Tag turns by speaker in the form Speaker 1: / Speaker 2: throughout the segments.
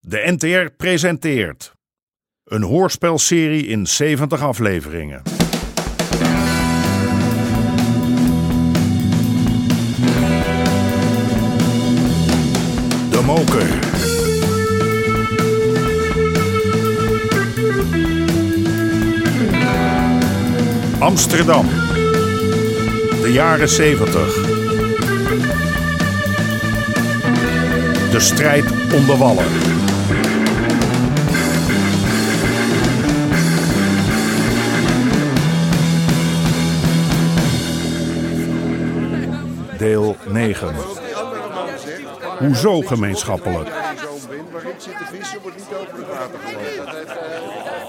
Speaker 1: De NTR presenteert een hoorspelserie in 70 afleveringen. De Moker. Amsterdam. De jaren 70. De strijd om de wallen. Deel 9. Hoezo gemeenschappelijk?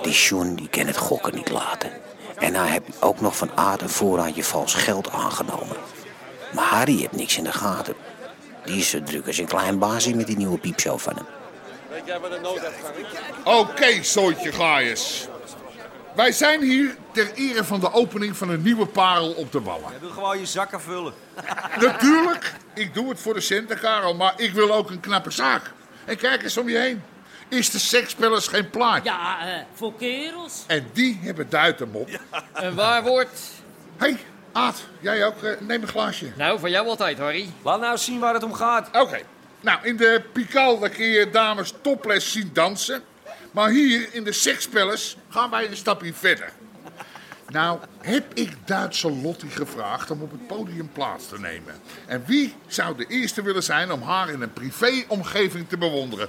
Speaker 2: Die Sjoen die kan het gokken niet laten. En hij heeft ook nog van Aard een voorraadje vals geld aangenomen. Maar Harry heeft niks in de gaten. Die is zo druk als een klein baasje met die nieuwe piepshow van hem.
Speaker 3: Oké, zooitje gaaiers. Wij zijn hier ter ere van de opening van een nieuwe parel op de wallen.
Speaker 4: Je wil gewoon je zakken vullen.
Speaker 3: Natuurlijk, ik doe het voor de centen, Karel, maar ik wil ook een knappe zaak. En kijk eens om je heen. Is de sekspellers geen plaat?
Speaker 5: Ja, eh, voor kerels.
Speaker 3: En die hebben duiten op. Hé,
Speaker 6: Een waar woord.
Speaker 3: hey, Aad, jij ook? eh, neem een glaasje.
Speaker 6: Nou, van jou altijd, Harry.
Speaker 4: Laat nou zien waar het om gaat.
Speaker 3: Oké. Nou, in de Pikal daar kun je dames topless zien dansen. Maar hier in de sekspellers gaan wij een stapje verder. Nou, heb ik Duitse Lottie gevraagd om op het podium plaats te nemen. En wie zou de eerste willen zijn om haar in een privéomgeving te bewonderen?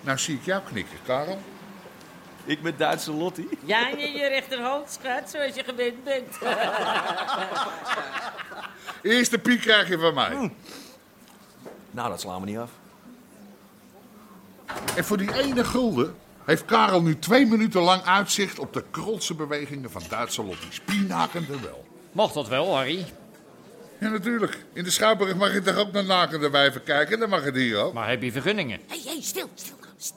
Speaker 3: Nou zie ik jou knikken, Karel.
Speaker 4: Ik met Duitse Lottie.
Speaker 5: Jij in je rechterhand, schat, zoals je gewend bent.
Speaker 3: Eerste piek krijg je van mij.
Speaker 4: Nou, dat slaan we niet af.
Speaker 3: En voor die ene gulden heeft Karel nu twee minuten lang uitzicht op de krolse bewegingen van Duitse Lottie. Spienakende wel.
Speaker 6: Mag dat wel, Harry.
Speaker 3: Ja, natuurlijk. In de Schouwburg mag je toch ook naar nakende wijven kijken? Dan mag het hier ook.
Speaker 6: Maar heb je vergunningen?
Speaker 5: Hé, hey, stil, stil. stil.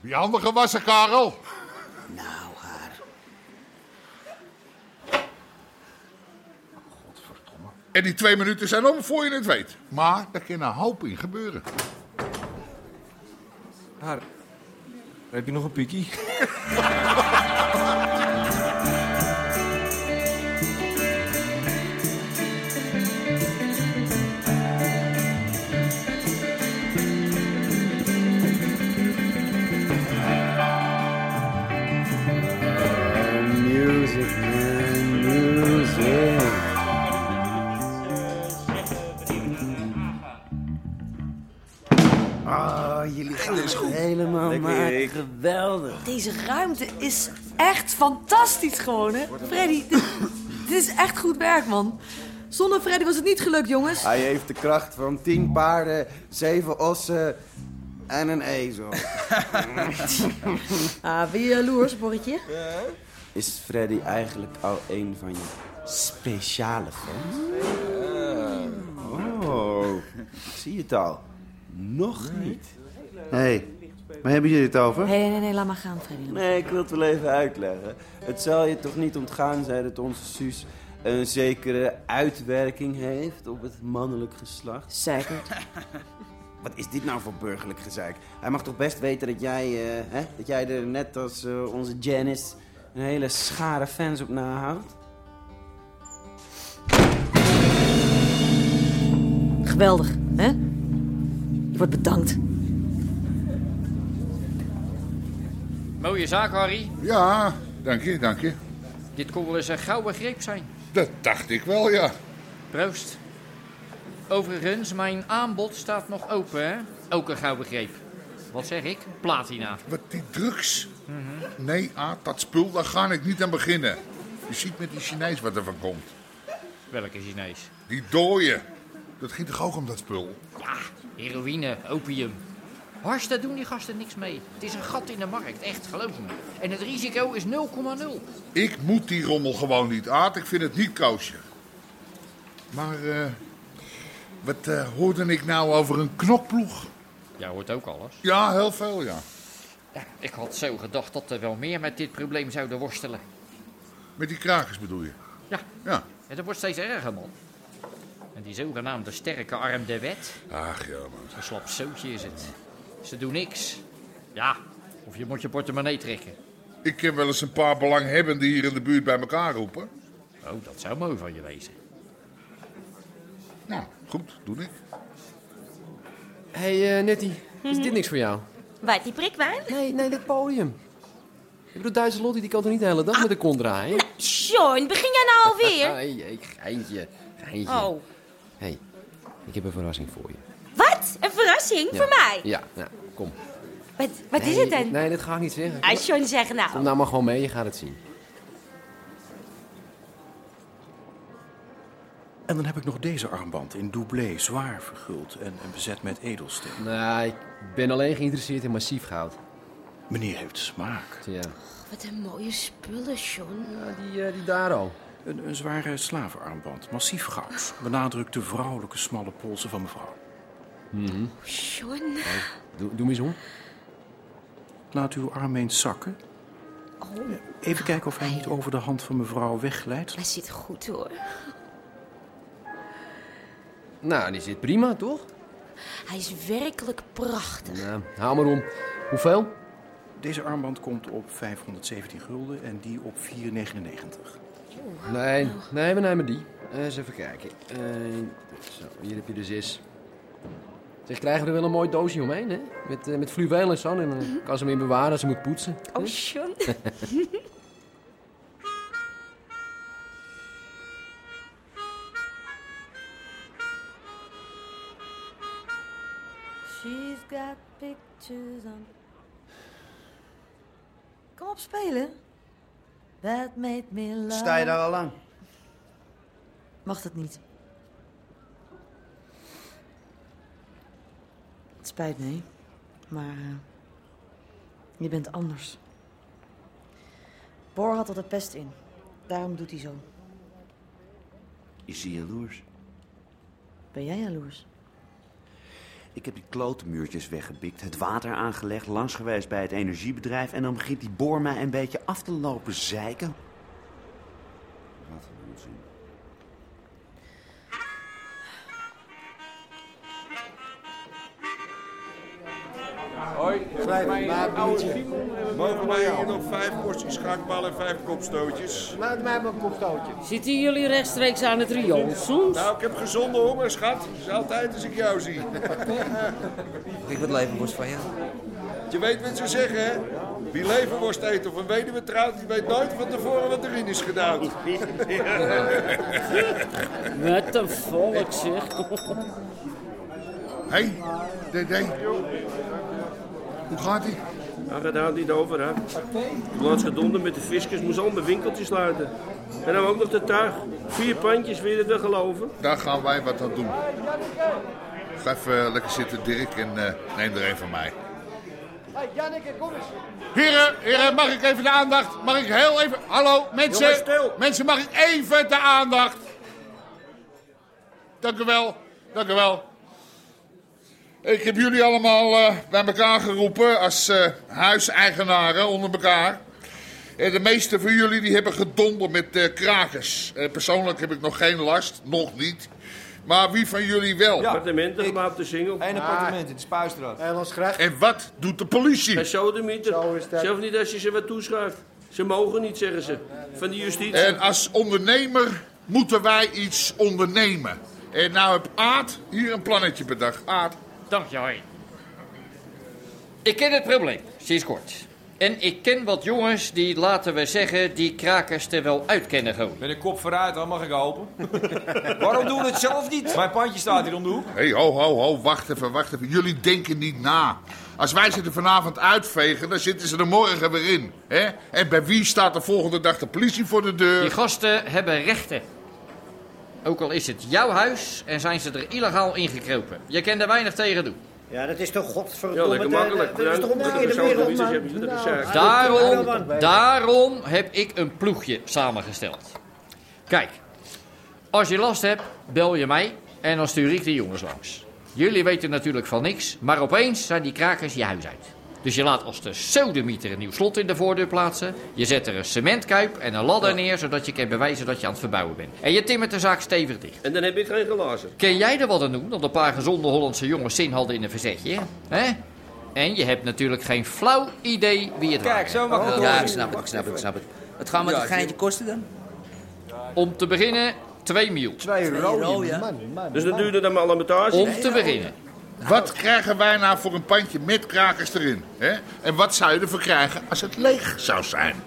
Speaker 3: Je handen gewassen, Karel.
Speaker 2: Nou, haar.
Speaker 3: En die twee minuten zijn om voor je het weet. Maar daar kan een hoop in gebeuren.
Speaker 4: Haar, heb je nog een pikkie?
Speaker 7: Music, man, music. Oh, jullie gaan is goed. helemaal maar geweldig.
Speaker 8: Deze ruimte is echt fantastisch gewoon, hè? Freddy, dit, dit is echt goed werk, man. Zonder Freddy was het niet gelukt, jongens.
Speaker 7: Hij heeft de kracht van tien paarden, zeven ossen en een ezel.
Speaker 8: Ah, ben je jaloers, Borretje?
Speaker 7: Is Freddy eigenlijk al een van je speciale fans? Oh, ik zie het al. Nog niet.
Speaker 9: Hé, hey, waar hebben jullie het over?
Speaker 8: Nee, nee, nee, laat maar gaan, Freddy.
Speaker 7: Nee, ik wil het wel even uitleggen. Het zal je toch niet ontgaan zijn dat onze Suus een zekere uitwerking heeft op het mannelijk geslacht?
Speaker 8: Zeker.
Speaker 7: Wat is dit nou voor burgerlijk gezeik? Hij mag toch best weten dat jij, eh, hè, dat jij er net als eh, onze Janice een hele schare fans op nahoudt?
Speaker 8: Geweldig, hè? Je wordt bedankt.
Speaker 6: Mooie zaak, Harry.
Speaker 3: Ja, dank je, dank je.
Speaker 6: Dit kon wel eens een gouden greep zijn.
Speaker 3: Dat dacht ik wel, ja.
Speaker 6: Proost. Overigens, mijn aanbod staat nog open, hè? Ook een gouden greep. Wat zeg ik? Platina.
Speaker 3: Wat die drugs. Nee, Aad, dat spul, daar ga ik niet aan beginnen. Je ziet met die Chinees wat er van komt.
Speaker 6: Welke Chinees?
Speaker 3: Die dooien. Dat ging toch ook om dat spul?
Speaker 6: Ja, heroïne, opium. Hars, daar doen die gasten niks mee. Het is een gat in de markt, echt, geloof me. En het risico is 0,0.
Speaker 3: Ik moet die rommel gewoon niet, Aad. Ik vind het niet koosje. Maar, eh, wat eh, hoorde ik nou over een knokploeg?
Speaker 6: Jij hoort ook alles.
Speaker 3: Ja, heel veel, ja.
Speaker 6: Ja, ik had zo gedacht dat er wel meer met dit probleem zouden worstelen.
Speaker 3: Met die krakers bedoel je?
Speaker 6: Ja,
Speaker 3: Ja.
Speaker 6: en dat wordt steeds erger, man. En die zogenaamde sterke arm der wet,
Speaker 3: Ach ja, man.
Speaker 6: een slap zootje is het. Ze doen niks. Ja, of je moet je portemonnee trekken.
Speaker 3: Ik ken wel eens een paar belanghebbenden hier in de buurt bij elkaar roepen.
Speaker 6: Oh, dat zou mooi van je wezen.
Speaker 3: Nou, goed, doe ik.
Speaker 10: Hé, hey, eh, Nettie, is dit niks voor jou?
Speaker 11: Waar die prikwijn?
Speaker 10: Nee, nee, dat podium. Ik bedoel, Duitse Lottie die kan toch niet de hele dag met de kont draaien?
Speaker 11: Sean, Nou, begin jij nou alweer?
Speaker 10: Hé, hey, geintje, geintje.
Speaker 11: Oh,
Speaker 10: Hé, hey, ik heb een verrassing voor je.
Speaker 11: wat? Een verrassing voor
Speaker 10: Ja.
Speaker 11: mij?
Speaker 10: Ja, nou, kom.
Speaker 11: Wat, wat is
Speaker 10: Nee,
Speaker 11: het dan?
Speaker 10: Nee, dat ga ik niet zeggen.
Speaker 11: Ah, Sean, zeg
Speaker 10: Kom
Speaker 11: nou.
Speaker 10: nou maar gewoon mee, je gaat het zien.
Speaker 12: En dan heb ik nog deze armband in doublé, zwaar verguld en, en bezet met edelsteen.
Speaker 10: Nou, ik ben alleen geïnteresseerd in massief goud.
Speaker 12: Meneer heeft smaak.
Speaker 10: Ja.
Speaker 11: Wat een mooie spullen, Sean.
Speaker 10: die, eh, die daar al.
Speaker 12: Een, een zware slavenarmband, massief goud. Benadrukt de vrouwelijke smalle polsen van mevrouw.
Speaker 10: Mhm.
Speaker 11: Sean.
Speaker 10: Doe, doe me eens om.
Speaker 12: Laat uw arm eens zakken. Even kijken of hij niet over de hand van mevrouw wegglijdt.
Speaker 11: Hij zit goed hoor.
Speaker 10: Nou, die zit prima, toch?
Speaker 11: Hij is werkelijk prachtig.
Speaker 10: Nou, haal maar om. Hoeveel?
Speaker 12: Deze armband komt op 517 gulden en die op 499.
Speaker 10: Nee, nee, we nemen die. Eh, Eens even kijken. Eén, zo, hier heb je de zes. Zeg, krijgen we er wel een mooi doosje omheen, hè? Met, eh, met fluweel en zo. En dan kan ze hem in bewaren als ze moet poetsen.
Speaker 11: Oh, Sean.
Speaker 8: She's got pictures on. Kom op spelen. That made me love.
Speaker 9: Sta je daar al lang?
Speaker 8: Mag dat niet? Het spijt me, maar eh, je bent anders. Bor had er de pest in. Daarom doet hij zo.
Speaker 13: Is hij jaloers?
Speaker 8: Ben jij jaloers?
Speaker 13: Ik heb die klotenmuurtjes weggebikt, het water aangelegd, langs geweest bij het energiebedrijf... en dan begint die boor mij een beetje af te lopen zeiken. Wat een onzin.
Speaker 14: Hoi.
Speaker 15: Vijf, maar biertje.
Speaker 14: Mogen wij hier nog vijf porties schaakbal en vijf kopstootjes?
Speaker 15: Laat mij maar een kopstootje.
Speaker 5: Zitten jullie rechtstreeks aan het riool soms?
Speaker 14: Nou, ik heb gezonde honger, schat. Dat is altijd als ik jou zie.
Speaker 16: Ik wat levenworst van jou.
Speaker 14: Je weet wat ze zeggen, hè? Wie levenworst eet of een weduwe trouwt, die weet nooit van tevoren wat erin is gedaan.
Speaker 5: Wat een volk, zeg.
Speaker 3: Hé, hey, Dede. Hoe gaat ie?
Speaker 17: Daar gaat daar niet over, hè. Laatst gedonder met de visjes moest al mijn winkeltjes sluiten. En dan ook nog de tuig. Vier pandjes, weer te geloven?
Speaker 3: Daar gaan wij wat aan doen. Ga even eh, lekker zitten, Dirk, en eh, neem er een van mij.
Speaker 15: Hey, Janneke, kom eens.
Speaker 3: Heren, heren, mag ik even de aandacht? Mag ik heel even... Hallo, mensen.
Speaker 15: Jongens,
Speaker 3: Mensen, mag ik even de aandacht? Dank u wel, dank u wel. Ik heb jullie allemaal eh, bij elkaar geroepen als eh, huiseigenaren onder elkaar. Eh, de meeste van jullie die hebben gedonder met eh, krakers. Eh, persoonlijk heb ik nog geen last, nog niet. Maar wie van jullie wel?
Speaker 17: Appartementen, maar op de single. Eén
Speaker 3: appartement
Speaker 17: in de Spuistraat.
Speaker 15: En ons graag.
Speaker 3: En wat doet de politie?
Speaker 17: En zo de mieter.
Speaker 15: dat.
Speaker 17: Zelf niet als je ze wat toeschuift. Ze mogen niet, zeggen ze. Van de justitie.
Speaker 3: En als ondernemer moeten wij iets ondernemen. En nou heb Aad hier een plannetje bedacht. Aad.
Speaker 6: Dank je, hoi. Ik ken het probleem, sinds kort. En ik ken wat jongens die, laten we zeggen, die krakers er wel uit kennen gooien.
Speaker 4: Met een kop vooruit, dan mag ik helpen. Waarom doen we het zelf niet? Mijn pandje staat hier om de hoek.
Speaker 3: Hé, hey, ho, ho, ho, wacht even, wacht even. Jullie denken niet na. Als wij ze er vanavond uitvegen, dan zitten ze er morgen weer in. Hè? En bij wie staat de volgende dag de politie voor de deur?
Speaker 6: Die gasten hebben rechten. Ook al is het jouw huis en zijn ze er illegaal ingekropen. Je kan er weinig tegen doen.
Speaker 16: Ja, dat is toch godverdomme...
Speaker 6: Ja, lekker
Speaker 16: de- de-
Speaker 6: makkelijk.
Speaker 16: Dat is toch
Speaker 6: Nee,
Speaker 16: omgekeerde
Speaker 6: dat is
Speaker 16: wereld,
Speaker 6: zo,
Speaker 16: man.
Speaker 6: dat is- dat
Speaker 16: Nou,
Speaker 6: is- Daarom,
Speaker 16: nou, man.
Speaker 6: daarom heb ik een ploegje samengesteld. Kijk, als je last hebt, bel je mij en dan stuur ik de jongens langs. Jullie weten natuurlijk van niks, maar opeens zijn die krakers je huis uit. Dus je laat als de sodemieter een nieuw slot in de voordeur plaatsen. Je zet er een cementkuip en een ladder neer, zodat je kan bewijzen dat je aan het verbouwen bent. En je timmert de zaak stevig dicht.
Speaker 4: En dan heb ik geen glazen.
Speaker 6: Ken jij er wat aan doen dat een paar gezonde Hollandse jongens zin hadden in een verzetje? Hè? En je hebt natuurlijk geen flauw idee wie het
Speaker 12: Kijk, zo mag het Oh.
Speaker 6: het.
Speaker 12: Ja, ik snap het, ik snap het, ik snap het. Het gaat me
Speaker 6: met
Speaker 12: een geintje kosten dan?
Speaker 6: Om te beginnen, 2 miljoen. 2
Speaker 4: Dus dat duurde dan maar al een metage?
Speaker 6: Om te beginnen.
Speaker 3: Wat krijgen wij nou voor een pandje met krakers erin? Hè? En wat zou je ervoor krijgen als het leeg zou zijn?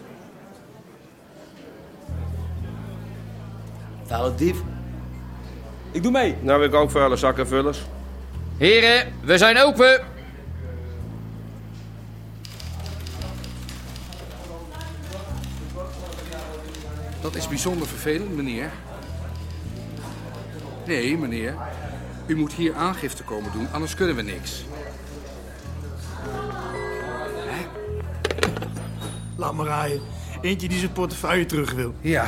Speaker 12: Vuile dief.
Speaker 4: Ik doe mee. Nou heb ik ook vuile zakkenvullers.
Speaker 6: Heren, we zijn open.
Speaker 10: Dat is bijzonder vervelend, meneer. Nee, meneer. U moet hier aangifte komen doen, anders kunnen we niks.
Speaker 18: Laat maar rijden. Eentje die zijn portefeuille terug wil.
Speaker 10: Ja,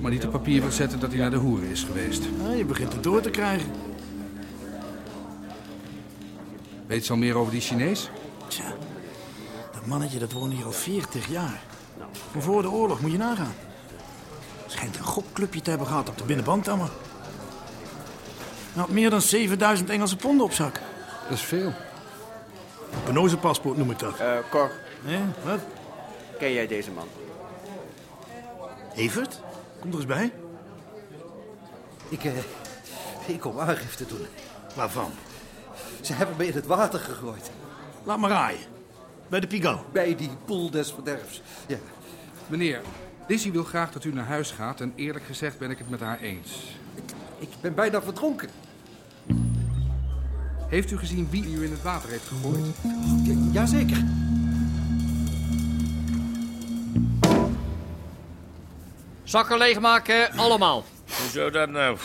Speaker 10: maar niet op papier wil zetten dat hij naar de hoeren is geweest.
Speaker 18: Ah, je begint het door te krijgen.
Speaker 10: Weet ze al meer over die Chinees?
Speaker 18: Tja, dat mannetje dat woonde hier al 40 jaar. Van voor de oorlog, moet je nagaan. Schijnt een gokclubje te hebben gehad op de binnenband allemaal. Hij
Speaker 4: Nou,
Speaker 18: had meer dan 7000 Engelse ponden op zak.
Speaker 10: Dat is veel.
Speaker 18: Penozenpaspoort noem ik dat.
Speaker 7: Eh, Cor.
Speaker 18: wat?
Speaker 7: Ken jij deze man?
Speaker 18: Evert? Kom er eens bij.
Speaker 7: Ik, ik kom aangifte doen.
Speaker 18: Waarvan?
Speaker 7: Ze hebben me in het water gegooid.
Speaker 18: Laat maar raaien. Bij de Pigo.
Speaker 7: Bij die poel des verderfs. Ja.
Speaker 10: Meneer, Lizzie wil graag dat u naar huis gaat en eerlijk gezegd ben ik het met haar eens.
Speaker 7: Ik ben bijna verdronken.
Speaker 10: Heeft u gezien wie u in het water heeft gegooid?
Speaker 7: Ja, jazeker.
Speaker 6: Zakken leegmaken, allemaal.
Speaker 4: Hoezo dat nou?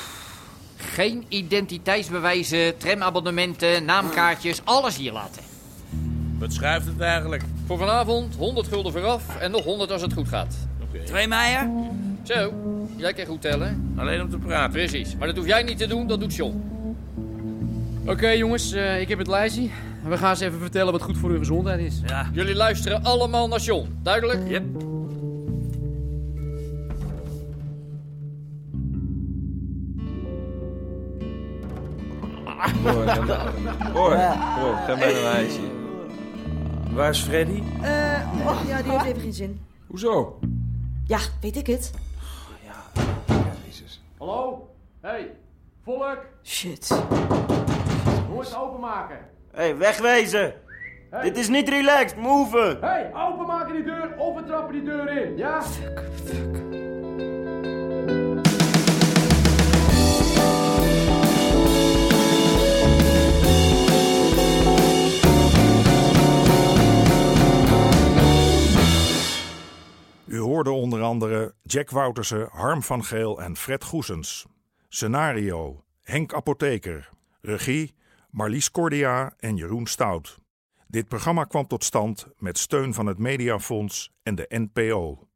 Speaker 6: Geen identiteitsbewijzen, tramabonnementen, naamkaartjes, alles hier laten.
Speaker 4: Wat schuift het eigenlijk?
Speaker 6: Voor vanavond 100 gulden vooraf en nog 100 als het goed gaat.
Speaker 12: Twee meijer?
Speaker 6: Zo, jij kan goed tellen.
Speaker 4: Alleen om te praten.
Speaker 6: Precies, maar dat hoef jij niet te doen, dat doet John.
Speaker 19: Oké jongens, eh, ik heb het lijstje. We gaan eens even vertellen wat goed voor uw gezondheid is. Ja.
Speaker 6: Jullie luisteren allemaal naar John, duidelijk? Yep.
Speaker 20: Hoor, ga maar- hoor, hoor,
Speaker 4: Oh,
Speaker 20: ga maar naar huis. hier. Waar is Freddy?
Speaker 21: Eh, oh, ja, die heeft even geen zin.
Speaker 20: Hoezo?
Speaker 21: Ja, weet ik het.
Speaker 19: Hallo? Hey, volk,
Speaker 21: Shit.
Speaker 19: hoe het openmaken?
Speaker 7: Hé, hey, wegwezen! Dit is niet relaxed, move!
Speaker 19: Hey, openmaken die deur of we trappen die deur in, ja?
Speaker 1: U hoorde onder andere Jack Woutersen, Harm van Geel en Fred Goesens. Scenario: Henk Apotheker. Regie: Marlies Cordia en Jeroen Stout. Dit programma kwam tot stand met steun van het Mediafonds en de NPO.